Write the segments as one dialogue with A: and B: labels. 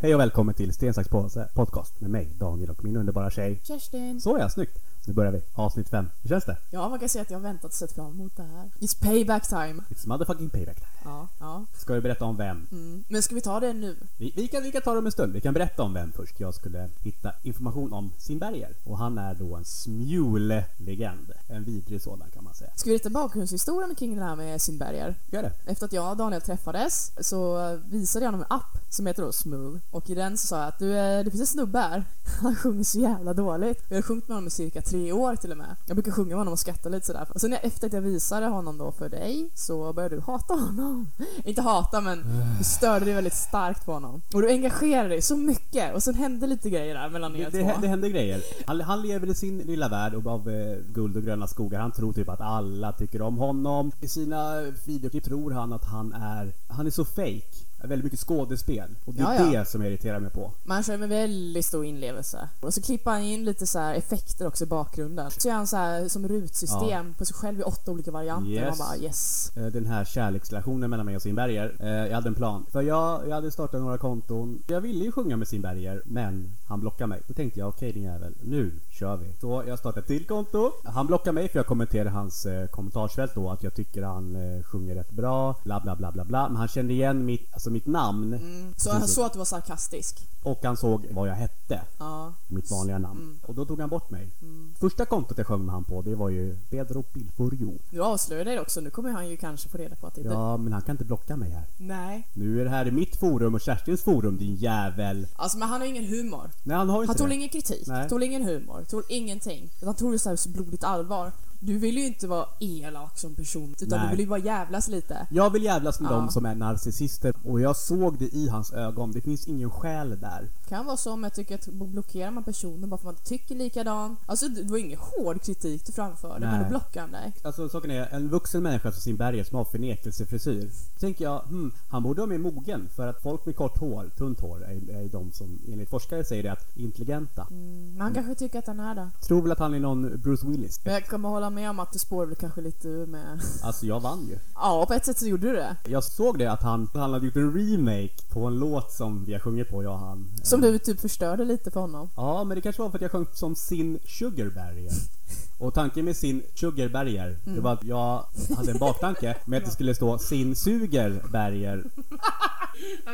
A: Hej och välkommen till Sten, sax, påse podcast med mig Daniel och min underbara tjej.
B: Kerstin!
A: Såja, snyggt! Nu börjar vi. Avsnitt 5. Hur känns det?
B: Ja, man kan säga att jag har väntat och sett fram emot det här. It's payback time!
A: It's motherfucking payback.
B: Ja, ja.
A: Ska vi berätta om vem?
B: Mm. Men ska vi ta det nu?
A: Vi, vi, kan, vi kan ta det om en stund. Vi kan berätta om vem först. Jag skulle hitta information om Simberger. Och han är då en Smule-legend. En vidrig sådan kan man säga.
B: Ska vi rita bakgrundshistorien kring det här med Simberger?
A: Gör det.
B: Efter att jag och Daniel träffades så visade jag honom en app som heter då Smooth. Och i den så sa jag att du, eh, det finns en snubbe här. Han sjunger så jävla dåligt. Jag har sjungit med honom i cirka tre år till och med. Jag brukar sjunga med honom och skratta lite sådär. Och sen när- efter att jag visade honom då för dig så började du hata honom. Inte hata men du störde dig väldigt starkt på honom. Och du engagerade dig så mycket. Och sen hände lite grejer där mellan er
A: Det,
B: två.
A: det, det händer grejer. Han, han lever i sin lilla värld och av eh, guld och gröna skogar. Han tror typ att alla tycker om honom. I sina videoklipp tror han att han är... Han är så fake. Väldigt mycket skådespel. Och det är
B: Ja, ja.
A: det som jag irriterar mig på.
B: Man kör med väldigt stor inlevelse. Och så klipper han in lite så här effekter också i bakgrunden. Så gör han så här som rutsystem på sig själv i åtta olika varianter.
A: Yes.
B: Man bara yes.
A: eh, den här kärleksrelationen mellan mig och Simberger. Eh, Jag hade en plan. För jag, jag hade startat några konton. Jag ville ju sjunga med Simberger, men han blockade mig. Då tänkte jag, okej din jävel, nu kör vi. Så jag startade ett till konto. Han blockade mig för jag kommenterade hans eh, kommentarsfält då att jag tycker han eh, sjunger rätt bra, bla bla bla bla bla. Men han kände igen mitt, alltså mitt namn
B: Mm. Så han såg att du var sarkastisk.
A: och han såg vad jag hette.
B: Ja. Mm.
A: Mitt vanliga namn. Och då tog han bort mig. Första kontot jag sjöng med han på, det var ju Pedro Pilforio.
B: Du avslöjade dig också. Nu kommer han ju kanske få reda på att det är du.
A: Ja, men han kan inte blocka mig här.
B: Nej.
A: Nu är det här i mitt forum och Kerstins forum, din jävel.
B: Alltså men han har ingen humor.
A: Nej, han har ju
B: Han
A: inte
B: tål
A: det.
B: ingen kritik,
A: Nej.
B: tål ingen humor, tål ingenting. Han tog det så här så blodigt allvar. Du vill ju inte vara elak som person, utan
A: Nej.
B: du vill ju bara jävlas lite.
A: Jag vill jävlas med
B: Ja.
A: de som är narcissister och jag såg det i hans ögon. Det finns ingen själ där.
B: Kan vara så, men jag tycker att blockerar man personen bara för att man inte tycker likadan. Alltså det det var ingen hård kritik du framförde,
A: Nej.
B: men då blockar han dig.
A: Alltså saken är, en vuxen människa som Simberger som har förnekelsefrisyr. Så tänker jag, hmm, han borde vara mer mogen för att folk med kort hår, tunt hår, är, är de som enligt forskare säger det att intelligenta.
B: Men han kanske tycker att han är det.
A: Tror väl att han är någon Bruce Willis.
B: Men jag kommer hålla med om att du spårar väl kanske lite ur med...
A: Alltså jag vann ju.
B: Ja, på ett sätt så gjorde du det.
A: Jag såg det att han, han hade gjort en remake på en låt som vi har sjungit på, jag och han.
B: Som du typ förstörde lite för honom.
A: Ja, men det kanske var för att jag sjöng som sin Sugarberger. Och tanken med sin Sugarberger, det
B: Mm.
A: var att jag hade en baktanke med att det skulle stå sin Sugerberger.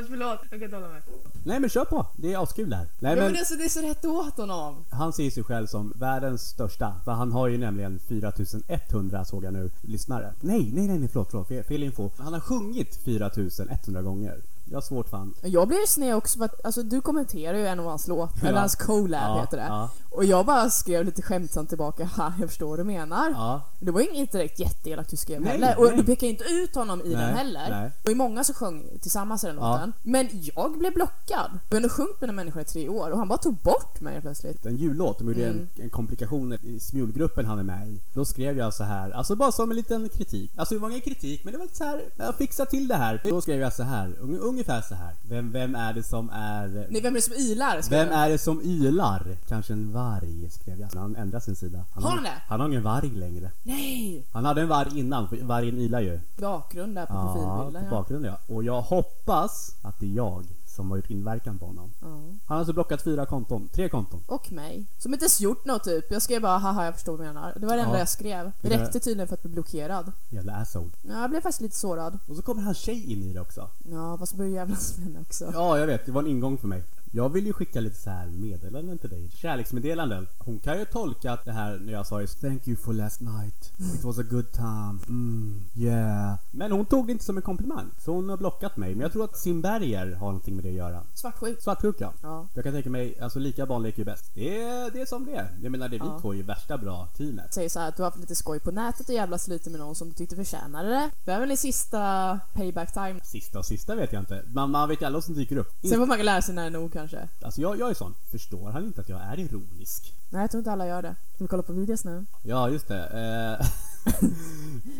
B: Förlåt, jag kan inte hålla med.
A: Nej men kör på, det är askul det här. Nej
B: Ja, men
A: men
B: alltså det är så rätt åt honom.
A: han ser sig själv som världens största, för han har ju nämligen 4100 såg jag nu, lyssnare. Nej, nej, nej, nej förlåt, förlåt, fel, fel info. Han har sjungit 4100 gånger. Jag har svårt för han.
B: Jag blir sned också för att alltså, du kommenterar ju en av hans låtar,
A: Ja.
B: eller hans collab
A: Ja,
B: heter det.
A: ja.
B: Och jag bara skrev lite skämtsamt tillbaka, ha jag förstår vad du menar.
A: Ja,
B: Det var ju inget direkt jätteelakt du skrev
A: Nej,
B: heller. Och
A: nej.
B: du pekar inte ut honom i
A: Nej,
B: den heller.
A: nej.
B: Och i många som sjöng tillsammans i den
A: Ja.
B: låten. Men jag blev blockad. Jag hade sjungit med den här människan i tre år och han bara tog bort mig helt plötsligt.
A: en jullåt, de gjorde
B: Mm.
A: en, en komplikation i smulgruppen han är med i. Då skrev jag så här, alltså bara som en liten kritik. Alltså det var ingen kritik, men det var lite så här, jag fixar till det här. Då skrev jag så här, un- ungefär så här. Vem, vem är det som är...
B: Nej, vem är det som ylar? skrev
A: Vem
B: jag.
A: är det som ylar? Kanske en varg, skrev jag. Han ändrar sin sida.
B: Har han det?
A: Han har ingen varg längre.
B: Nej!
A: Han hade en varg innan, för vargen ylar ju.
B: Bakgrund där på
A: Ja,
B: profilbilden.
A: på bakgrunden ja. Och jag hoppas att det är jag som har gjort inverkan på honom.
B: ja.
A: Han har alltså blockat fyra konton, tre konton.
B: Och mig. Som inte ens gjort något typ. Jag skrev bara haha jag förstår vad du menar. Det var det enda
A: Ja.
B: jag skrev.
A: Det
B: Det
A: där-
B: räckte tydligen för att bli blockerad.
A: Jävla asshole.
B: Ja, jag blev faktiskt lite sårad.
A: Och så kommer hans tjej in i det också.
B: Ja, fast jag började jävlas med henne också.
A: Ja, jag vet. Det var en ingång för mig. Jag vill ju skicka lite så här meddelanden till dig. Kärleksmeddelanden. Hon kan ju tolka att det här när jag sa just Thank you for last night. It was a good time. Mm, yeah. Men hon tog det inte som en komplimang. Så hon har blockat mig. Men jag tror att Simberger har någonting med det att göra.
B: Svartsjuk.
A: Svartsjuka.
B: Ja.
A: Jag kan tänka mig, alltså lika barn leker ju bäst. Det är, det är som det är. Jag menar, det är vi
B: Ja.
A: två är ju värsta bra teamet.
B: Säger så här att du har haft lite skoj på nätet och jävlas lite med någon som du tyckte förtjänade det. Det är väl din sista payback time.
A: Sista och sista vet jag inte. Man, man vet ju alla vad som dyker upp.
B: Sen får man lära sig när det är nog kanske.
A: Alltså jag, jag är sån. Förstår han inte att jag är ironisk?
B: Nej, jag tror inte alla gör det. Ska vi kolla på videos nu?
A: Ja, just det. Eh,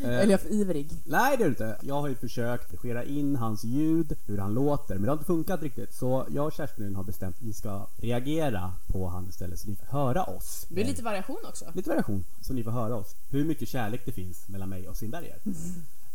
A: eh,
B: Eller jag är för ivrig.
A: Nej, det är det inte. Jag har ju försökt skera in hans ljud, hur han låter, men det har inte funkat riktigt. Så jag och Kerstin har bestämt att vi ska reagera på han istället, så ni får höra oss.
B: Det blir lite variation också.
A: lite variation, så ni får höra oss. Hur mycket kärlek det finns mellan mig och Sinberger.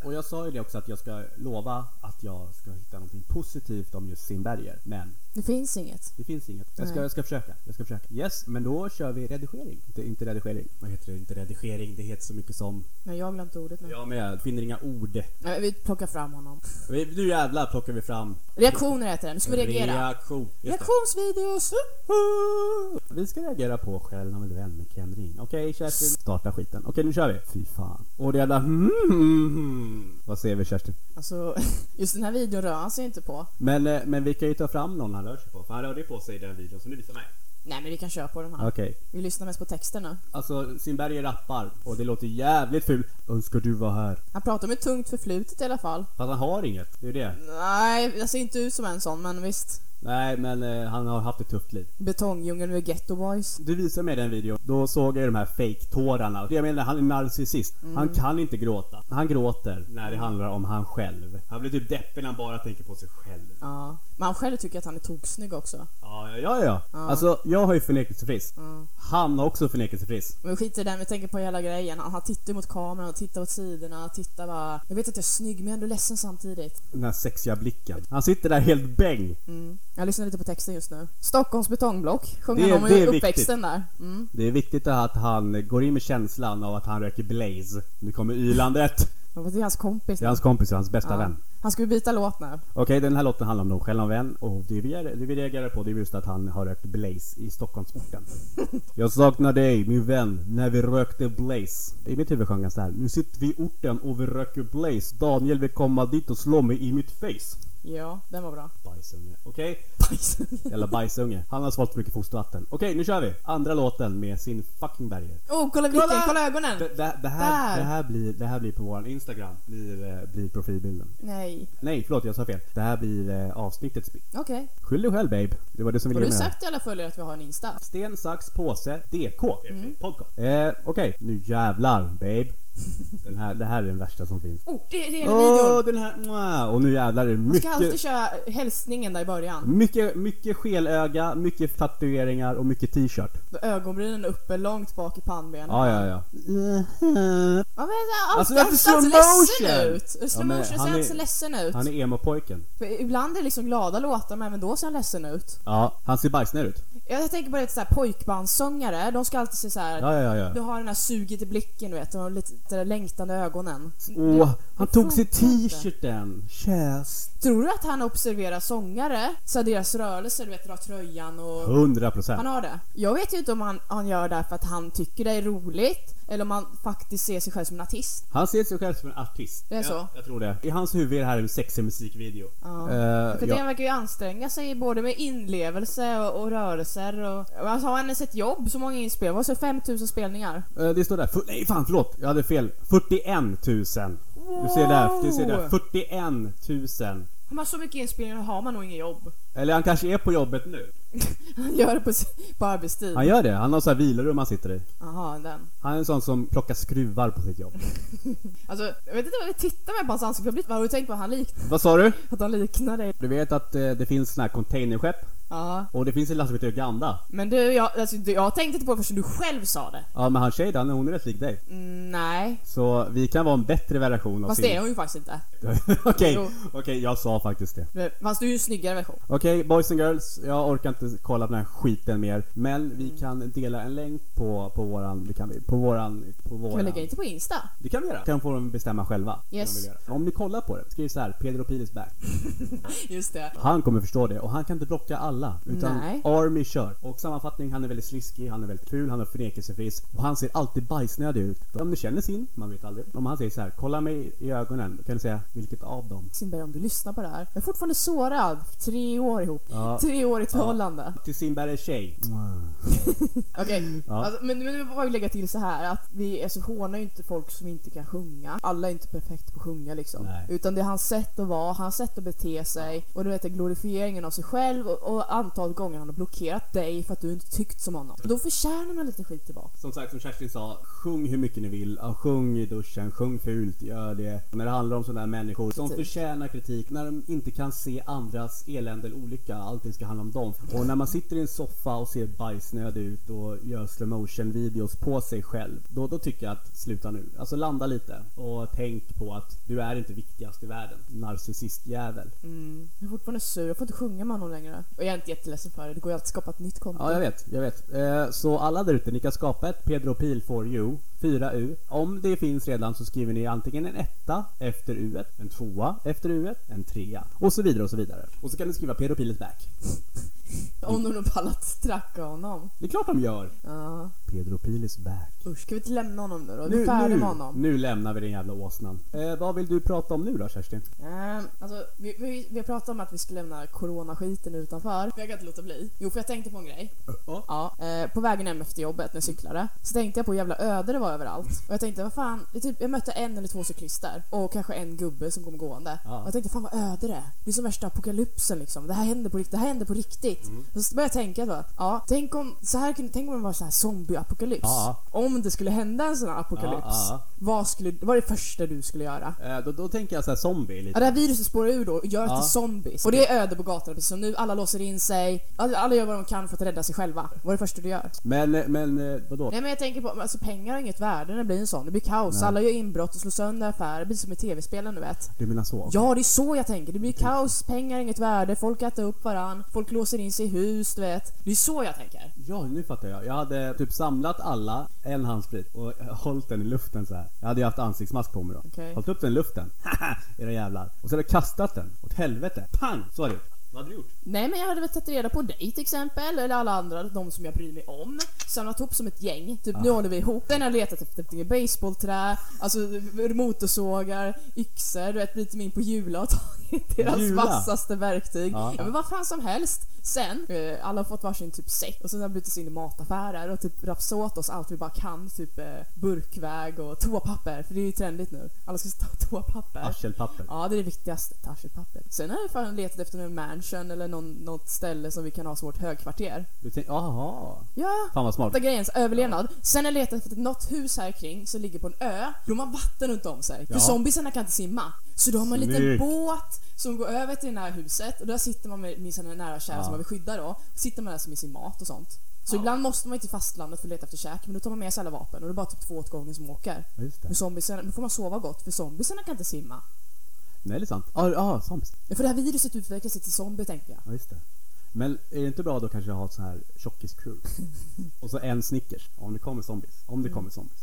A: Och jag sa ju det också att jag ska lova att jag ska hitta någonting positivt om just Sinberger, men
B: Det finns inget.
A: Det finns inget. Jag ska,
B: Nej.
A: jag ska försöka. Jag ska försöka. Yes, men då kör vi redigering. Inte, inte redigering. Vad heter det? Inte redigering. Det heter så mycket som...
B: Men jag har glömt ordet nu.
A: Ja, men jag finner inga ord.
B: Nej, vi plockar fram honom.
A: Vi- Nu jävlar plockar vi fram...
B: Reaktioner heter den. Nu ska vi reagera.
A: Reaktion. Just det.
B: Reaktionsvideos! Woho!
A: Vi ska reagera på Själv av en vän med Ken Ring. Okej Kerstin, starta skiten. Okej nu kör vi. Fy fan. Och det jävla hmm. Vad ser vi Kerstin?
B: Alltså, just den här videon rör han sig inte på.
A: Men, eh, men vi kan ju ta fram någon han rör sig på. För han rörde ju på sig i den videon som du visade mig.
B: Nej, men vi kan köra på den här.
A: Okej.
B: Vi lyssnar mest på texterna.
A: Alltså Simberg rappar och det låter jävligt fult. Önskar du var här.
B: Han pratar om ett tungt förflutet i alla fall.
A: Fast han har inget. Det är det.
B: Nej, jag ser inte ut som en sån, men visst.
A: Nej men eh, han har haft ett tufft liv.
B: Betongdjungeln med Ghetto Boys.
A: Du visade mig den videon. Då såg jag ju de här fake-tårarna. Jag menar han är narcissist. Han kan inte gråta. Han gråter när det handlar om han själv. Han blir typ deppig när han bara tänker på sig själv.
B: Ja. Men han själv tycker att han är toksnygg också.
A: Ja, ja, ja. ja. Alltså, jag har ju förnekelsefrist. Han har också förnekelsefrist.
B: Men vi skiter i den, vi tänker på hela grejen. Han, han tittar mot kameran, och tittar åt sidorna, tittar bara... Jag vet att jag är snygg, men jag är ändå ledsen samtidigt.
A: Den här sexiga blicken. Han sitter där helt bäng.
B: Mm. Jag lyssnar lite på texten just nu. Stockholms betongblock
A: Det-
B: sjunger han om
A: det
B: i
A: är
B: uppväxten där. Mm.
A: Det är viktigt att han går in med känslan av att han röker Blaze. Nu kommer ylandet.
B: Och Det är hans kompis.
A: Det är hans kompis och hans bästa vän.
B: Han ska ju byta låt nu.
A: Okej, den här låten handlar om någon själv och en vän och det vi, det vi reagerar på det är just att han har rökt Blaze i Stockholmsorten. Jag saknar dig min vän, när vi rökte Blaze. I mitt huvud sjöng han så här. Nu sitter vi i orten och vi röker Blaze. Daniel vill komma dit och slå mig i mitt face.
B: Ja, den var bra.
A: Bajsunge. Okej,
B: Bajs.
A: Jävla bajsunge. Han har svalt för mycket fostervatten. Okej, nu kör vi! Andra låten med sin fucking berger.
B: oh, kolla blicken,
A: Kolla!
B: kolla, ögonen!
A: Det, det, det, här,
B: Där!
A: det, här blir, det här blir på våran Instagram, blir, eh, blir profilbilden.
B: Nej.
A: Nej, förlåt jag sa fel. Det här blir eh, avsnittets bild.
B: Okej.
A: Skyll dig själv babe. Det var du som
B: Har
A: ville
B: du
A: med det här.
B: sagt till alla följare att vi har en Insta?
A: Sten, sax, påse, DK.
B: Mm.
A: Podcast. Eh, Okej, nu jävlar babe. Den här, det här är den värsta som finns.
B: Oh, det, det är
A: Åh,
B: en videon!
A: den här! mwah. Och nu jävlar är det
B: Man ska alltid
A: mycket...
B: köra hälsningen där i början.
A: Mycket, mycket skelöga, mycket tatueringar och mycket t-shirt.
B: Då Ögonbrynen uppe, långt bak i pannbenen.
A: Ja, ja, ja.
B: Mm. Man vet,
A: Alltså,
B: alltså,
A: varför slow
B: han ser alltid
A: motion?
B: ledsen ut. I
A: Ja,
B: slow
A: men
B: motion ser
A: han
B: han
A: är-
B: alltid ledsen ut.
A: Han är emo-pojken.
B: För ibland är det liksom glada låtar, men även då ser han ledsen ut.
A: Ja, han ser bajsnödig ut.
B: Jag, jag tänker på det så här pojkbandssångare, de ska alltid se så här.
A: Ja, ja, ja.
B: Du
A: ja.
B: har den här suget i blicken, du vet, och lite det där längtande ögonen.
A: Åh, han
B: det
A: tog sig
B: funkar Mm. inte.
A: t-shirten. Käs.
B: Tror du att han observerar sångare? Så här deras rörelser, du vet, dra tröjan och...
A: 100
B: Han
A: procent.
B: har det. Jag vet ju inte om han, han gör det här för att han tycker det är roligt, eller om han faktiskt ser sig själv som en artist.
A: Han ser sig själv som en artist.
B: Det är
A: Ja,
B: så?
A: Jag tror det. I hans huvud är det här en sexig musikvideo.
B: Ja.
A: Eh,
B: För
A: ja.
B: han verkar ju anstränga sig både med inlevelse och, och rörelser och... Alltså har han ens ett jobb? Så många inspelningar? Vad sa 5000 spelningar?
A: Eh, Det står där. Fu- Nej, fan förlåt. Jag hade fel. 41 000. Du ser där. Du ser där. 41 000.
B: Har man så mycket inspelningar har man nog inget jobb.
A: Eller han kanske är på jobbet nu.
B: Han gör det på, s- på arbetstid.
A: Han gör det. Han har så här vilorum han sitter i.
B: Jaha, den.
A: Han är en sån som plockar skruvar på sitt jobb.
B: Alltså, jag vet inte vad vi tittar med på hans ansikte. Jag blir- Vad har du tänkt på? att Han lik,
A: Vad sa du?
B: att han liknar dig.
A: Du vet att eh, det finns såna här containerskepp
B: Ja.
A: och det finns en lastbil till Uganda.
B: Men du, jag, alltså, du, jag tänkte inte på det förrän du själv sa det.
A: Ja men hans tjej då, hon är rätt lik dig.
B: Mm, nej.
A: Så vi kan vara en bättre version av
B: Fast det är hon ju faktiskt inte.
A: Okej, okej
B: Jo.
A: jag sa faktiskt det.
B: Men- Fast du är ju en snyggare version.
A: Okej boys and girls, jag orkar inte kolla på den här skiten mer. Men
B: Mm.
A: vi kan dela en länk på, på våran, det kan vi, på våran, på
B: Kan vi
A: våran.
B: lägga in det på Insta?
A: Det kan vi göra. Kan få dem bestämma själva. vad de
B: Yes.
A: vill göra. Om ni kollar på det, skriv så här, Pedro Pilis back.
B: Just det.
A: Han kommer förstå det och han kan inte blocka alla. Utan
B: Nej.
A: Army kör. Och sammanfattning, han är väldigt sliskig, han är väldigt ful, han har förnekelsefrisk och han ser alltid bajsnödig ut. Om du känner sin, man vet aldrig. Om han säger så här, kolla mig i ögonen, då kan du säga vilket av dem.
B: Simberg, om du lyssnar på det här. Jag är fortfarande sårad. Tre år ihop.
A: Ja.
B: Tre år i ett förhållande.
A: Till Simbergs tjej.
B: Okej,
A: Ja.
B: alltså, men, men jag vill bara lägga till så här att vi alltså, hånar ju inte folk som inte kan sjunga. Alla är inte perfekta på att sjunga liksom.
A: Nej.
B: Utan det är hans sätt att vara, hans sätt att bete sig och du vet det är glorifieringen av sig själv och, och antalet gånger han har blockerat dig för att du inte tyckt som honom. Då förtjänar man lite skit tillbaka.
A: Som sagt, som Kerstin sa, sjung hur mycket ni vill. Ja, sjung i duschen, sjung fult, gör det. När det handlar om sådana här människor som
B: Precis.
A: förtjänar kritik, när de inte kan se andras elände eller olycka, allting ska handla om dem. Och när man sitter i en soffa och ser bajsnödig ut och gör slow motion videos på sig själv, då, då tycker jag att sluta nu. Alltså landa lite och tänk på att du är inte viktigast i världen. Narcissistjävel. Mm.
B: Jag är fortfarande sur, jag får inte sjunga med honom längre. Och jag är inte jätteledsen för det. Det går ju alltid att skapa ett nytt konto.
A: Ja, jag vet. Jag vet. Eh, så alla där ute, ni kan skapa ett Pedro Pil for you, 4U. Om det finns redan så skriver ni antingen en etta efter U, en tvåa efter U, en trea och så vidare och så vidare. Och så kan ni skriva Pedro Pil is back.
B: Om de nu pallat tracka honom.
A: Det är klart de gör!
B: Ja.
A: Pedro Pil is back.
B: Usch, ska vi inte lämna honom nu då? Vi är färdiga med honom.
A: nu lämnar vi den jävla åsnan. Eh, vad vill du prata om nu då Kerstin?
B: Ehm, alltså, vi, vi, vi har pratat om att vi ska lämna coronaskiten utanför. Jag kan inte låta bli. Jo, för jag tänkte på en grej.
A: Ja.
B: Ja, eh, på vägen hem efter jobbet när jag cyklade så tänkte jag på hur jävla öde det var överallt. Och jag tänkte, vad fan, det är typ, jag mötte en eller två cyklister och kanske en gubbe som kom gående.
A: Ja.
B: Och jag tänkte, fan vad öde det är. Det är som värsta apokalypsen liksom. Det här händer på riktigt. Det här händer på riktigt. Och så började jag tänka då, ja, tänk om, så här, kunde- tänk om det var så här zombie-apokalyps.
A: Ja.
B: Om det skulle hända en sån här apokalyps,
A: Ja, ja.
B: Vad, skulle, vad är det första du skulle göra?
A: Eh, då, då tänker jag så här zombie lite.
B: Ja, det här viruset spårar ur då och gör
A: Ja.
B: att till zombies. Och det är öde på gatorna precis som nu. Alla låser in sig. Alla alla gör vad de kan för att rädda sig själva. Vad är det första du gör?
A: Men, eh, men eh, vadå?
B: Nej men jag tänker på, alltså pengar har inget värde när det blir en sån. Det blir kaos.
A: Nej.
B: Alla gör inbrott och slår sönder affärer. Det blir som i tv-spelen du vet.
A: Du menar så?
B: Ja, det är så jag tänker. Det blir kaos, pengar har inget värde, folk äter upp varann, folk låser in sig i hus, du vet. Det är så jag tänker.
A: Ja, nu fattar jag. Jag hade typ samlat alla, en handsprit, och hållit den i luften så här. Jag hade ju haft ansiktsmask på mig då.
B: Okej.
A: Hållit upp den i luften. Haha, era jävlar. Och så hade jag kastat den åt helvete. Pang! Så hade jag gjort. Vad hade du gjort?
B: Nej men jag hade väl tagit reda på dig till exempel, eller alla andra, de som jag bryr mig om. Samlat ihop som ett gäng, typ nu håller vi ihop. Den har letat efter ett baseballträ, alltså motorsågar, yxor, du vet bitit mig in på Jula och tagit deras
A: Jula?
B: vassaste verktyg.
A: Ja.
B: Ja, men vad fan som helst. Sen, eh, alla har fått varsin typ säck och sen har vi brutit oss in i mataffärer och typ rapsat åt oss allt vi bara kan. Typ eh, burkväg och toapapper, för det är ju trendigt nu. Alla ska ta toapapper.
A: Arselpapper.
B: Ja, det är det viktigaste. Taschelpapper. Sen har vi fan letat efter en mansion eller någon, något ställe som vi kan ha som vårt högkvarter.
A: Du tänkte, jaha.
B: Ja.
A: Fan vad smart.
B: Fatta grejens överlevnad. Sen har jag letat efter något hus här kring som ligger på en ö. De har vatten runt om sig.
A: Ja.
B: För zombiesarna kan inte simma. Så då har man en liten
A: Snyggt.
B: båt som går över till det här huset och där sitter man med, med sina nära och kära
A: Ja.
B: som man vill skydda då. Sitter man där som med sin mat och sånt. Så
A: Ja.
B: ibland måste man ju till fastlandet för att leta efter käk men då tar man med sig alla vapen och det är bara typ två åt gången som åker.
A: Ja, just det.
B: Men zombiesarna, då får man sova gott för zombiesarna kan inte simma.
A: Nej, det är sant. Ja, ah, sant.
B: Ja, för det här viruset utvecklar sig till zombie tänkte jag.
A: Ja, just det. Men är det inte bra då kanske att ha ett sån här tjockis-crew? och så en Snickers. Om det kommer zombies. Om det kommer zombies.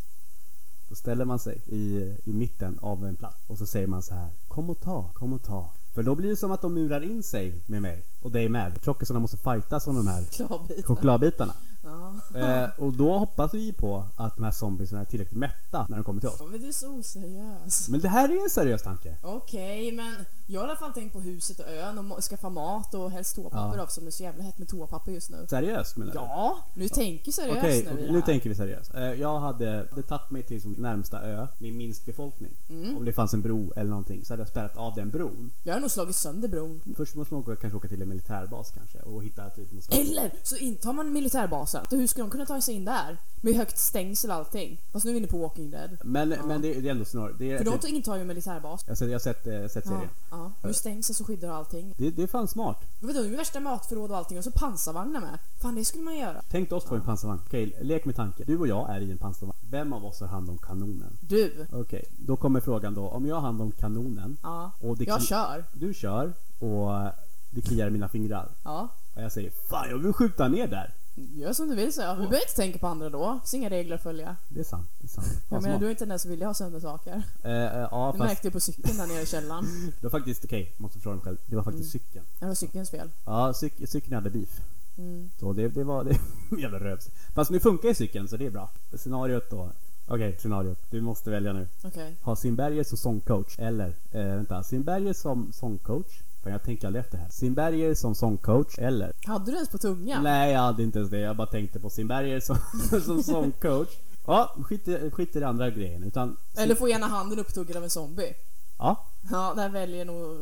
A: Då ställer man sig i, i mitten av en plats och så säger man så här. Kom och ta, kom och ta. För då blir det som att de murar in sig med mig och dig med. Tjockisarna måste fightas om de här
B: Klavbit.
A: chokladbitarna.
B: Ja.
A: Eh, och då hoppas vi på att de här zombiesarna är tillräckligt mätta när de kommer till oss.
B: Men du är så oseriös.
A: Men det här är en seriös tanke.
B: Okej, men jag har i alla fall tänkt på huset och ön och må- skaffa mat och helst toapapper
A: Ja.
B: av som det är så jävla hett med toapapper just nu.
A: Seriöst menar du?
B: Ja, nu tänker seriöst
A: Okej,
B: nu i det
A: nu
B: här.
A: tänker vi seriöst. Eh, Jag hade, hade tagit mig till som närmsta ö med minst befolkning.
B: Mm.
A: Om det fanns en bro eller någonting så hade jag spärrat av den bron.
B: Jag har nog slagit sönder bron.
A: Först måste man åka, kanske åka till en militärbas kanske och hitta typ något sånt.
B: Eller så intar man militärbasen. Hur ska de kunna ta sig in där? Med högt stängsel och allting. Fast nu är vi inne på Walking Dead.
A: Men, men det, det är ändå snarare... Det är,
B: För
A: det,
B: de intar ju en militärbas.
A: jag har sett, jag har sett, eh, sett
B: Ja,
A: serien.
B: ja. Nu stängsel så skyddar allting.
A: Det, det är fan smart.
B: Men Vadå, nu är värsta matförråd och allting och så pansarvagnar med. Fan, det skulle man göra.
A: Tänk oss på en pansarvagn. Okej, lek med tanken. Du och jag är i en pansarvagn. Vem av oss har hand om kanonen?
B: Du.
A: Okej, då kommer frågan då. Om jag har hand om kanonen
B: Ja.
A: och det
B: Jag
A: kli-
B: kör.
A: du kör och det kliar i mina fingrar.
B: Ja.
A: Och jag säger fan jag vill skjuta ner där.
B: Gör som du vill säga. Vi behöver inte tänka på andra då. Det finns inga regler att följa.
A: Det är sant. Det är sant.
B: Jag
A: Fan,
B: menar,
A: smart.
B: du är inte den som vill ha sönder saker.
A: Eh, eh, ja, fast
B: Det märkte jag på cykeln där nere i källaren.
A: det var faktiskt, okej, måste förklara mig själv. Det var faktiskt cykeln.
B: Det var cykelns fel.
A: Ja, cyk, cykeln hade beef.
B: Mm.
A: Så det, det var, det jävla rövs. Fast nu funkar ju cykeln så det är bra. Scenariot då. Okej, scenariot. Du måste välja nu.
B: Okej.
A: Ha Simberger som sångcoach eller, eh, vänta, Simberger som sångcoach. Fan jag tänker aldrig efter här. Simberger som sångcoach eller?
B: Hade du det ens på tungan?
A: Nej, jag hade inte ens det. Jag bara tänkte på Simberger som, som sångcoach. Ja, skit i, skit i den andra grejen. Utan,
B: Eller få ena handen upptuggad av en zombie?
A: ja,
B: Ja, där väljer nog...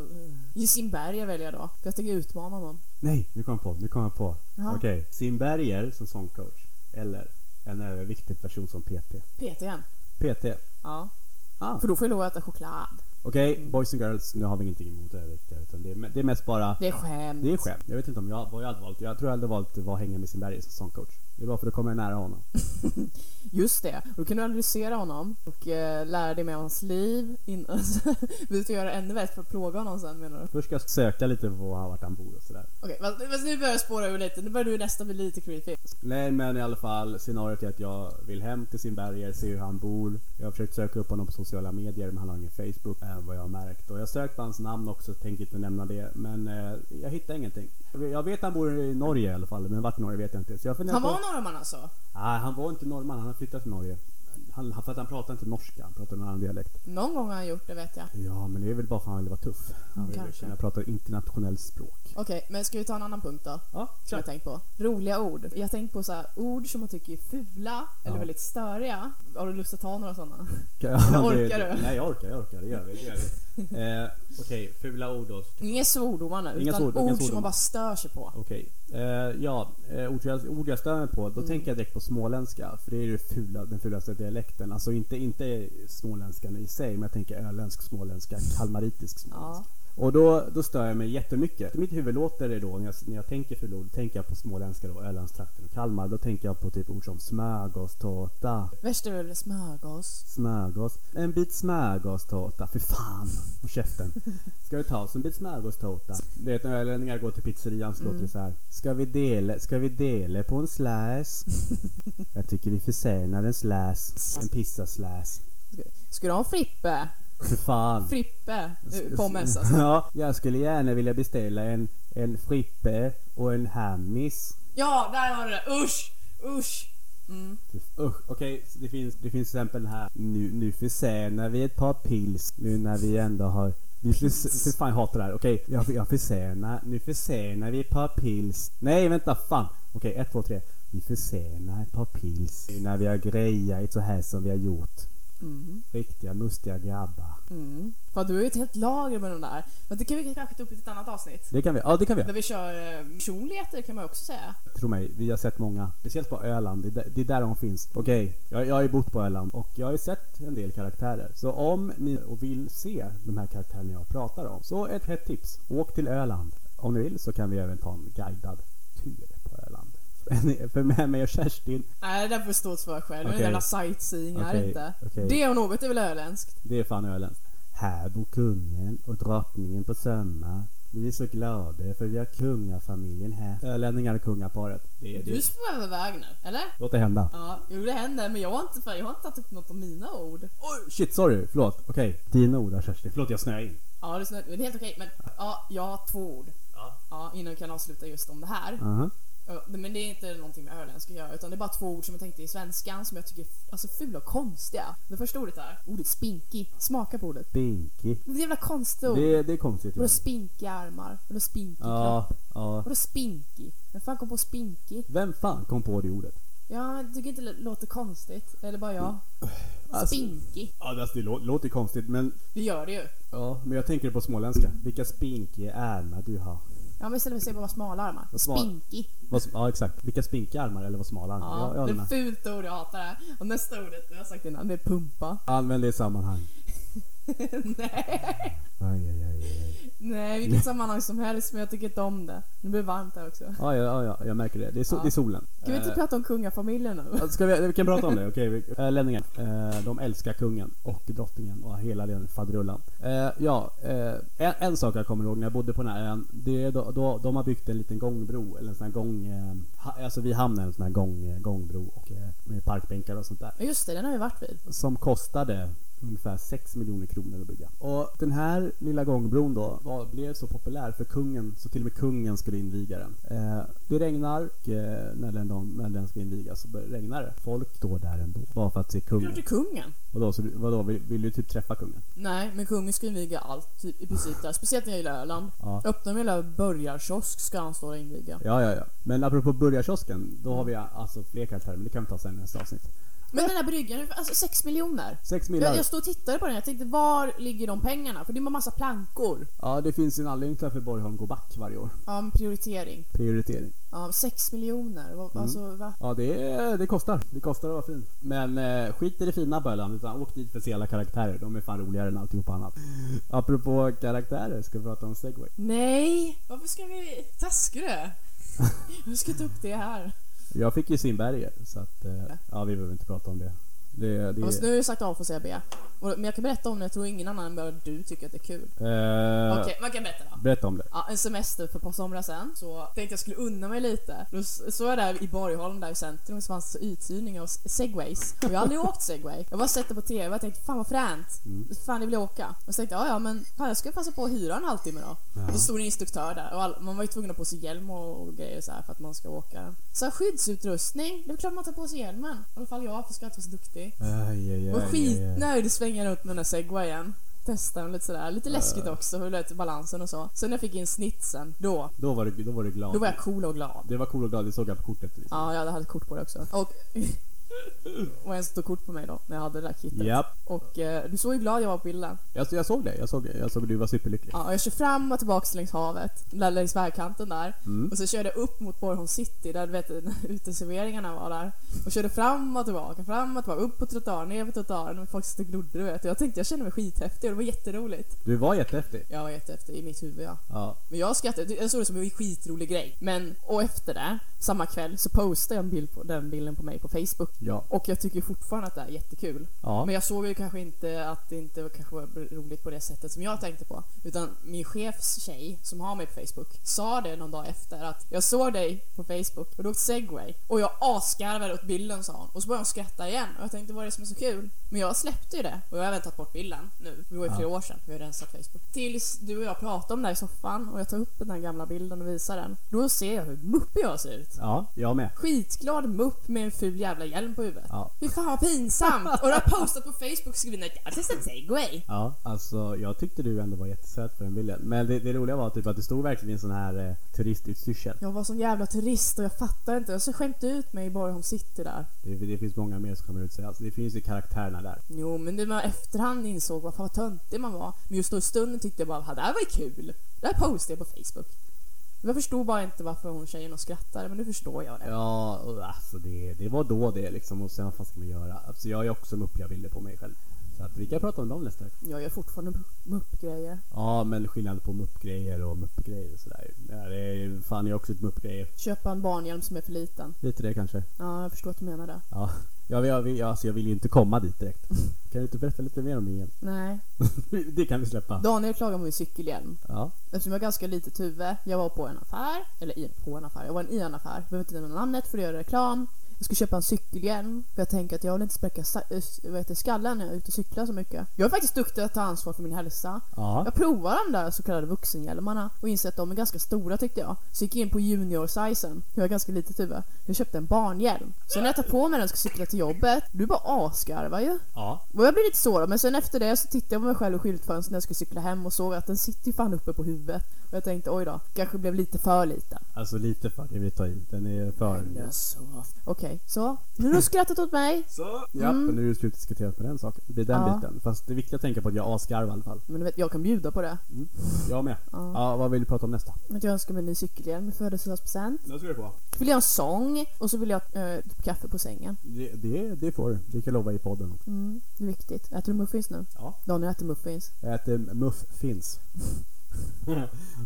B: Jim Berger väljer jag då. För jag tänker utmana honom.
A: Nej, nu kom jag på. Nu kom jag på.
B: Jaha.
A: Okej, Simberger som sångcoach eller en överviktig person som PT.
B: PT igen.
A: PT.
B: Ja.
A: Ah,
B: För då får jag lov att äta choklad.
A: okej, Ah, Okej, boys and girls, nu har vi ingenting emot överviktiga utan det är, det är mest bara
B: Det är skämt.
A: det är skämt. Jag vet inte om jag, vad jag hade valt. Jag tror jag hade valt att vara hänga med sin berg som sångcoach. Det är bara för att komma nära honom.
B: Just det. Och då kan du analysera honom och eh, lära dig mer om hans liv. Innan, vi ska göra det ännu värre för att plåga honom sen menar du?
A: Först ska jag söka lite på vart han bor och sådär.
B: Okej, fast- fast nu börjar jag spåra ur lite. Nu börjar du nästan bli lite creepy.
A: Nej men i alla fall, scenariot är att jag vill hem till sin berger, se hur han bor. Jag har försökt söka upp honom på sociala medier men han har ingen Facebook, är vad jag har märkt. Och jag sökte hans namn också, tänker inte nämna det. Men eh, jag hittar ingenting. Jag vet han bor i Norge i alla fall, men vart i Norge vet jag inte. Så jag funderar
B: Han
A: på...
B: var norrman alltså?
A: Nej, han var inte norrman, han har flyttat till Norge. Han, för att han pratar inte norska, han pratar en annan dialekt.
B: Någon gång har han gjort det vet jag.
A: Ja, men det är väl bara för att han ville vara tuff. Han ville
B: Kanske.
A: kunna prata internationellt språk.
B: Okej, men ska vi ta en annan punkt då?
A: Ja,
B: Som jag tänkt på. Roliga ord. Jag har tänkt på så här, ord som man tycker är fula eller
A: Ja.
B: väldigt störiga. Har du lust att ta några sådana?
A: Ja, det-
B: Orkar du?
A: Nej, jag orkar, jag orkar. Det gör vi. Det gör vi. eh, Okej, fula ord då.
B: Inga svordomar nu,
A: Inga
B: utan
A: svordom- inga
B: ord som
A: svordomar.
B: man bara stör sig på.
A: Okej. Eh, ja, eh, ord, jag, ord jag stör mig på. Då tänker jag direkt på småländska. För det är ju fula, den fulaste dialekten. Alltså inte, inte småländskan i sig, men jag tänker öländsk småländska, kalmaritisk småländska.
B: Ja.
A: Och då, då stör jag mig jättemycket. Mitt huvud låter det då, när jag, när jag tänker fula ord, då tänker jag på småländska då, Ölandstrakten och Kalmar. Då tänker jag på typ ord som smörgåstårta,
B: Värst är väl smörgås.
A: smörgås, en bit smörgåstårta, för fan! Och käften. Ska vi ta oss en bit smörgåstårta? Du vet när ölänningar går till pizzerian så låter det så här. Ska vi dela, ska vi dela på en slice? Jag tycker vi förtjänar en slice. En pizza-slice.
B: Ska du ha en frippe?
A: För fan!
B: Frippe? Eh, Pommes alltså.
A: Ja, jag skulle gärna vilja beställa en, en frippe och en hammis.
B: Ja, där har du det! Usch! Usch! Mm.
A: Usch, okej, så det, finns, det finns till exempel den här. Nu, nu försenar vi ett par pils nu när vi ändå har... Vi förs- för fan, jag hatar det här. Okej, jag, jag försenar. Nu försenar vi ett par pils. Nej, vänta, fan. Okej, ett, två, tre. Vi försenar ett par pils nu när vi har grejat så här som vi har gjort. Riktiga mustiga grabbar.
B: Fan, du har ju ett helt lager med de där. Men det kan vi kanske ta upp i ett annat avsnitt.
A: Det kan vi. Ja, det kan vi.
B: Där vi kör eh, personligheter kan man också säga.
A: Tro mig, vi har sett många. Speciellt på Öland, det är där, det är där de finns. Okej, jag, jag har ju bott på Öland och jag har ju sett en del karaktärer. Så om ni vill se de här karaktärerna jag pratar om, så ett hett tips. Åk till Öland. Om ni vill så kan vi även ta en guidad tur på Öland. För med mig och Kerstin,
B: Nej, det där får stå ett svar själv.
A: Okej.
B: Okay. jävla sightseeing här
A: Okej,
B: inte.
A: okej.
B: Det och något är väl öländskt?
A: det är fan öländskt. Här bor kungen och drottningen på Sömma. Vi är så glada för vi har kungafamiljen här. Ölänningar och kungaparet. Det är
B: Du
A: det.
B: är på Wagner, eller?
A: Låt det hända.
B: Ja, jo det händer, men jag har inte, jag har inte tagit upp något av mina ord.
A: Oj, shit, sorry. Förlåt. Okej. Dina ord där Kerstin. Förlåt, jag snöade in.
B: Ja, det är, snö- men det är helt okej, men ja, jag har två ord.
A: Ja.
B: Ja, innan vi kan avsluta just om det här.
A: Aha.
B: Ja, Men det är inte någonting med öländska att göra, utan det är bara två ord som jag tänkte i svenskan som jag tycker är f- alltså, fula och konstiga. Det första ordet är ordet spinky. Smaka på ordet.
A: Binky.
B: Det är ett jävla konstigt ord.
A: Det, det är konstigt.
B: Vadå
A: Ja.
B: spinkiga armar? Vadå spinkig kropp?
A: ja, ja.
B: Vadå spinkig? Vem fan kom på spinkig?
A: Vem fan kom på det ordet?
B: Ja, jag tycker inte det låter konstigt. Eller bara jag.
A: Alltså-
B: Spinkig.
A: Ja, det- alltså, det lå- låter konstigt men...
B: Det gör det ju.
A: Ja, men jag tänker på småländska. Vilka spinkiga ärmar du har.
B: Ja, men istället för att säga bara smala armar.
A: Vad smal-
B: Spinkig.
A: Vad, s- ja, exakt. Vilka spinkiga ärmar eller vad smala armar.
B: Ja,
A: Ja, jag
B: det är
A: menar.
B: ett fult ord, jag hatar det. här. Och nästa ordet, det har jag sagt innan, det är pumpa.
A: Använd det i sammanhang.
B: Nej.
A: Aj, aj, aj, aj. aj.
B: Nej, vilket sammanhang som helst, men jag tycker inte om det. Nu blir det varmt här också.
A: Ja, ja, ja, ja, jag märker det. Det är, so-
B: Ja.
A: det är solen.
B: Kan vi inte prata om kungafamiljen nu?
A: Ska vi, vi kan prata om det, okej. vi- eh, Länningar, eh, de älskar kungen och drottningen och hela den faderullan. Eh, ja, eh, en, en sak jag kommer ihåg när jag bodde på den här ön, det är då, då, de har byggt en liten gångbro, eller en sån här gång... Eh, ha, alltså vi hamnade i en sån här gång, eh, gångbro och, eh, med parkbänkar och sånt där.
B: Ja, Just det, den har vi varit vid.
A: Som kostade ungefär 6 miljoner kronor att bygga. Och den här lilla gångbron då var, blev så populär för kungen så till och med kungen skulle inviga den. Eh, det regnar och eh, när, den, de- när den ska invigas så bör- regnar det. Folk står där ändå bara för att se
B: Klart
A: kungen.
B: det är kungen.
A: Vadå, så, du- vadå vill, vill du typ träffa kungen?
B: Nej, men kungen ska inviga allt typ, i princip där. Speciellt när jag gillar Öland.
A: Ja.
B: Öppnar de hela burgarkiosk ska han stå och inviga.
A: eh, Ja, ja, ja. Men apropå burgarkiosken, då har vi alltså fler karaktärer men det kan vi ta sen i nästa avsnitt.
B: Men den här bryggan, alltså 6 miljoner.
A: Sex
B: Jag,
A: millar.
B: jag stod och tittade på den jag tänkte var ligger de pengarna? För det var massa plankor.
A: Ja, det finns en anledning till varför Borgholm går back varje år.
B: Ja, men prioritering.
A: Prioritering.
B: Ja, 6 miljoner. Vad- Alltså, va?
A: Ja, det, det kostar. Det kostar att vara fin. Men eh, skit i det fina Bölan, utan åk dit för speciella karaktärer. De är fan roligare än alltihop annat. Apropå karaktärer, ska vi prata om segway?
B: Nej! Varför ska vi... Taskar du? Vi ska ta upp det här.
A: Jag fick ju Simberger, så att... Eh, ja, vi behöver inte prata om det. Det, det
B: Fast nu har jag sagt A för att säga B. Och- Men jag kan berätta om det, jag tror ingen annan än bara du tycker att det är kul.
A: eh,
B: Okej, man kan berätta då.
A: Berätta om det.
B: Ja, en semester för ett par somrar sen så tänkte jag skulle unna mig lite. Då s- så jag där i Borgholm där i centrum så fanns det uthyrning av s- segways. Och jag har aldrig åkt segway. Jag har bara sett det på TV och tänkte fan vad fränt. Fan det vill jag åka. Och så tänkte jag "Ja, ja men fan, jag ska passa på att hyra en halvtimme då. Och så stod det en instruktör där och all, man var ju tvungen att ha på sig hjälm och, och grejer så här för att man ska åka. Så här, skyddsutrustning, det är klart man tar på sig hjälmen. I alla fall jag för ska jag inte vara så duktig.
A: Aj, aj, aj,
B: Jag var
A: aj, aj.
B: skitnöjd att svänga runt med den här segwayen. Testa den lite sådär. Lite läskigt också, hur lät balansen och så. Sen när jag fick in snitsen, då,
A: Då var du, då var du glad.
B: då var jag cool och glad.
A: Det var cool och glad, det såg jag på kortet. Liksom.
B: Ja, jag hade ett kort på det också. Och, och en som tog kort på mig då, när jag hade det där kittet.
A: Japp.
B: Och eh, du såg ju glad jag var på bilden.
A: Jag, jag såg det. Jag såg, jag såg att du var superlycklig.
B: Ja, och jag kör fram och tillbaks längs havet, lä- längs vägkanten där. Och så körde jag upp mot Borgholm city, där du vet uteserveringarna var där. Och körde fram och tillbaka, fram och tillbaka, upp på trottoaren, ner på trottoaren. Och folk satt och glodde du vet. Och jag tänkte jag kände mig skithäftig och det var jätteroligt.
A: Du var jättehäftig.
B: Jag var jättehäftig i mitt huvud ja.
A: Ja.
B: Men jag skrattade, jag såg det som en skitrolig grej. Men, och efter det, samma kväll, så postade jag en bild på, den bilden på mig på Facebook.
A: Ja.
B: Och jag tycker fortfarande att det är jättekul.
A: Ja.
B: Men jag såg ju kanske inte att det inte var- kanske var roligt på det sättet som jag tänkte på. Utan min chefs tjej, som har mig på Facebook, sa det någon dag efter att jag såg dig på Facebook och du åkte segway och jag asgarvade åt bilden sa hon. Och så började hon skratta igen och jag tänkte vad är det som är så kul? Men jag släppte ju det och jag har även tagit bort bilden nu. Det var ju flera år sedan vi har rensat Facebook. Tills du och jag pratade om det här i soffan och jag tar upp den här gamla bilden och visar den. Då ser jag hur muppig jag ser ut.
A: Ja, jag med.
B: Skitglad mupp med en ful jävla hjälm på huvudet.
A: Ja.
B: Fy fan vad pinsamt! Och du har postat på Facebook och skrivit att jag har testat segway.
A: Ja, alltså jag tyckte du ändå var jättesöt på den bilden. Men det, det roliga var typ att du stod verkligen i en sån här eh, turistutstyrsel.
B: Jag var sån jävla turist och jag fattar inte. Jag så skämte ut mig i Borgholm city där.
A: Det, det finns många mer som kommer ut sig. Alltså, det finns ju karaktärerna där.
B: Jo, men det var efterhand insåg vad fan vad töntig man var. Men just då i stunden tyckte jag bara att det här var ju kul. Det här postade jag på Facebook. Jag förstod bara inte varför hon tjejen och skrattade, men nu förstår jag det.
A: Ja, och alltså det, det var då det liksom. Och sen vad fan ska man göra? Alltså jag är också muppiga bilder på mig själv. Så att vi kan prata om dem nästa vecka.
B: Jag gör fortfarande muppgrejer.
A: Ja, men skillnad på muppgrejer och muppgrejer och sådär. Ja, det är, fan, jag är också ett muppgrejer.
B: Köpa en barnhjälm som är för liten.
A: Lite det kanske.
B: Ja, jag förstår att du menar det.
A: Ja, jag, jag, jag, alltså, jag vill ju inte komma dit direkt. Kan du inte berätta lite mer om det igen?
B: Nej.
A: det kan vi släppa.
B: Daniel klagar på min cykelhjälm.
A: Ja.
B: Eftersom jag har ganska litet huvud. Jag var på en affär, eller i, på en affär, jag var i en affär. Jag behöver inte nämna namnet för att göra reklam. Jag skulle köpa en cykelhjälm för jag tänker att jag vill inte spräcka sa- eh, vad heter, det, skallen när jag är ute och cyklar så mycket. Jag är faktiskt duktig att ta ansvar för min hälsa.
A: Ja.
B: Jag provade de där så kallade vuxenhjälmarna och insåg att de är ganska stora tyckte jag. Så gick jag in på junior-sizen, jag har ganska litet huvud. Jag köpte en barnhjälm. Så när jag tar på mig den och ska cykla till jobbet, du bara asgarvar ju.
A: Ja.
B: Och jag blev lite sårad men sen efter det så tittade jag på mig själv i skyltfönstret när jag skulle cykla hem och såg att den sitter ju fan uppe på huvudet. Och jag tänkte oj då, kanske blev lite för liten.
A: Alltså lite för det vi tar i. Den är för...
B: Okej, så. Nu har du skrattat åt mig.
A: Ja, men nu är det slutdiskuterat med den saken. Det är den
B: Mm. Ja.
A: biten. Fast det är viktigt att tänka på att jag asgarvar i alla fall.
B: Men du vet, jag kan bjuda på det.
A: Jag med. Ja. vad vill du prata om nästa?
B: Att jag önskar mig en ny cykelhjälm i födelsedagspresent.
A: Det ska du få.
B: Så vill jag ha en sång och så vill jag eh, typ kaffe på sängen.
A: Det, det, får du. Det kan jag lova i podden också.
B: Mm, det är viktigt. Äter du muffins nu?
A: Ja.
B: Daniel äter muffins.
A: Jag äter eh, muff finns.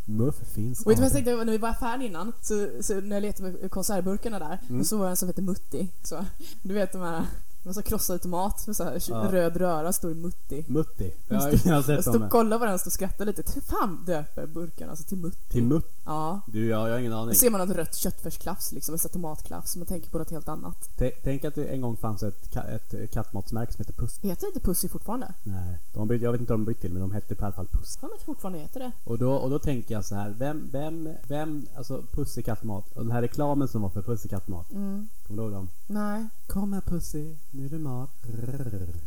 A: muff finns.
B: Och vet du vad jag tänkte när vi var i affären innan? Så, så när jag letade med konservburkarna där, och så var det en som hette Mutti. Så, du vet de här, man så krossade tomat med så här
A: Ja.
B: röd röra, står det Mutti.
A: Mutti. Ja, jag har
B: Jag
A: sett
B: stod
A: dem.
B: och kollade på den och stod och skrattade lite. Hur fan döper burkarna alltså till Mutti?
A: Till mutt.
B: Ja.
A: Du, jag, jag har ingen aning.
B: Då ser man något rött köttfärsklaffs liksom, en sån här tomatklaffs. Man tänker på något helt annat.
A: T- Tänk att det en gång fanns ett, ka- ett kattmatsmärke som hette Puss.
B: Heter det inte Pussy fortfarande?
A: Nej, de bytte, jag vet inte om de bytte till men de hette i alla fall Puss.
B: Fan att fortfarande heter det.
A: Och då, och då tänker jag så här, vem, vem, vem, alltså Pussekattmat och den här reklamen som var för Pussekattmat.
B: Mm.
A: Kommer du ihåg dem?
B: Nej.
A: Kom här Pussy, nu är det mat.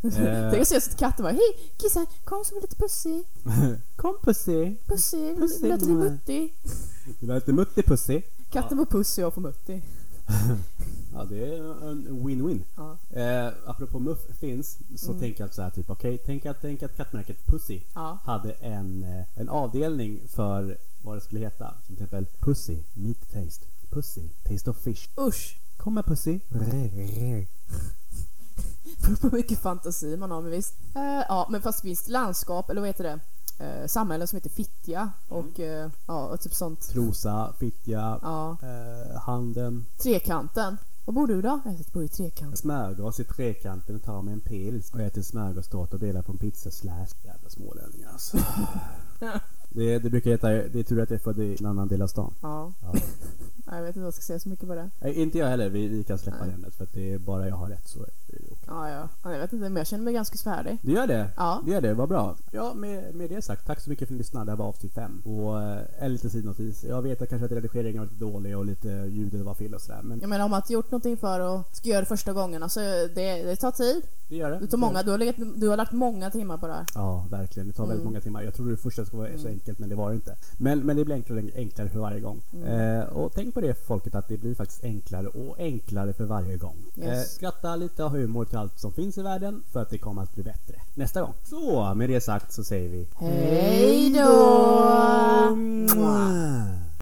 B: Tänk
A: eh,
B: att se att katten bara Hej kissa, kom så vill du lite Pussy.
A: kom Pussy!
B: Pussy, vill
A: Pussy,
B: du lite
A: mamma."
B: Mutti?
A: Du var lite mutti Pussy.
B: Katten var Pussy och jag på Mutti.
A: Ja, det är en win-win.
B: Ja.
A: Eh, apropå muff finns, så
B: Mm.
A: tänker jag så här typ, okej, tänk, att, tänk att kattmärket Pussy
B: Ja.
A: hade en, eh, en avdelning för vad det skulle heta. Som till exempel Pussy, Meat Taste, Pussy, Taste of Fish.
B: Usch!
A: Kom här Pussy.
B: Beror på hur mycket fantasi man har, men visst. Eh, ja, men fast finns det landskap, eller vad heter det? Eh, samhällen som heter Fittja och, eh, ja, och typ sånt.
A: Trosa, Fittja,
B: Ja.
A: eh, Handen,
B: Trekanten. Var bor du då? Jag bor i Trekanten.
A: smörgås i trekanten, tar med en pils och äter smörgåstårta och delar på en pizzaslash. Jävla smålänningar alltså. det, det brukar heta, det är tur att jag är född i en annan del av stan.
B: Ja.
A: Ja.
B: Nej, jag vet inte vad jag ska säga så mycket på det.
A: Nej, inte jag heller, vi, vi kan släppa
B: Nej.
A: det ämnet för att det är bara jag har rätt så är det okej.
B: Ja, ja. ja jag vet inte, men jag känner mig ganska svärdig.
A: Du gör det?
B: Ja.
A: Du gör det, vad bra. Ja, med, med det sagt, tack så mycket för att ni lyssnade. Det här var avsnitt 5. Och eh, en liten sidnotis. Jag vet att kanske att redigeringen var lite dålig och lite ljudet var fel och sådär, men
B: Jag menar, om man inte gjort någonting för och ska göra det första gången, alltså det, det tar tid.
A: det gör det.
B: Det tar många, du har, legat, du har lagt många timmar på det här.
A: Ja, verkligen. Det tar
B: Mm.
A: väldigt många timmar. Jag trodde det första skulle vara så enkelt, men det var det inte. Men, men det blir enklare och enklare för varje gång.
B: Mm.
A: Eh, och tänk på det folket, att det blir faktiskt enklare och enklare för varje gång.
B: Yes.
A: Eh, skratta lite och ha humor till allt som finns i världen, för att det kommer att bli bättre nästa gång. Så, med det sagt så säger vi
B: Hej då!
A: Mwah.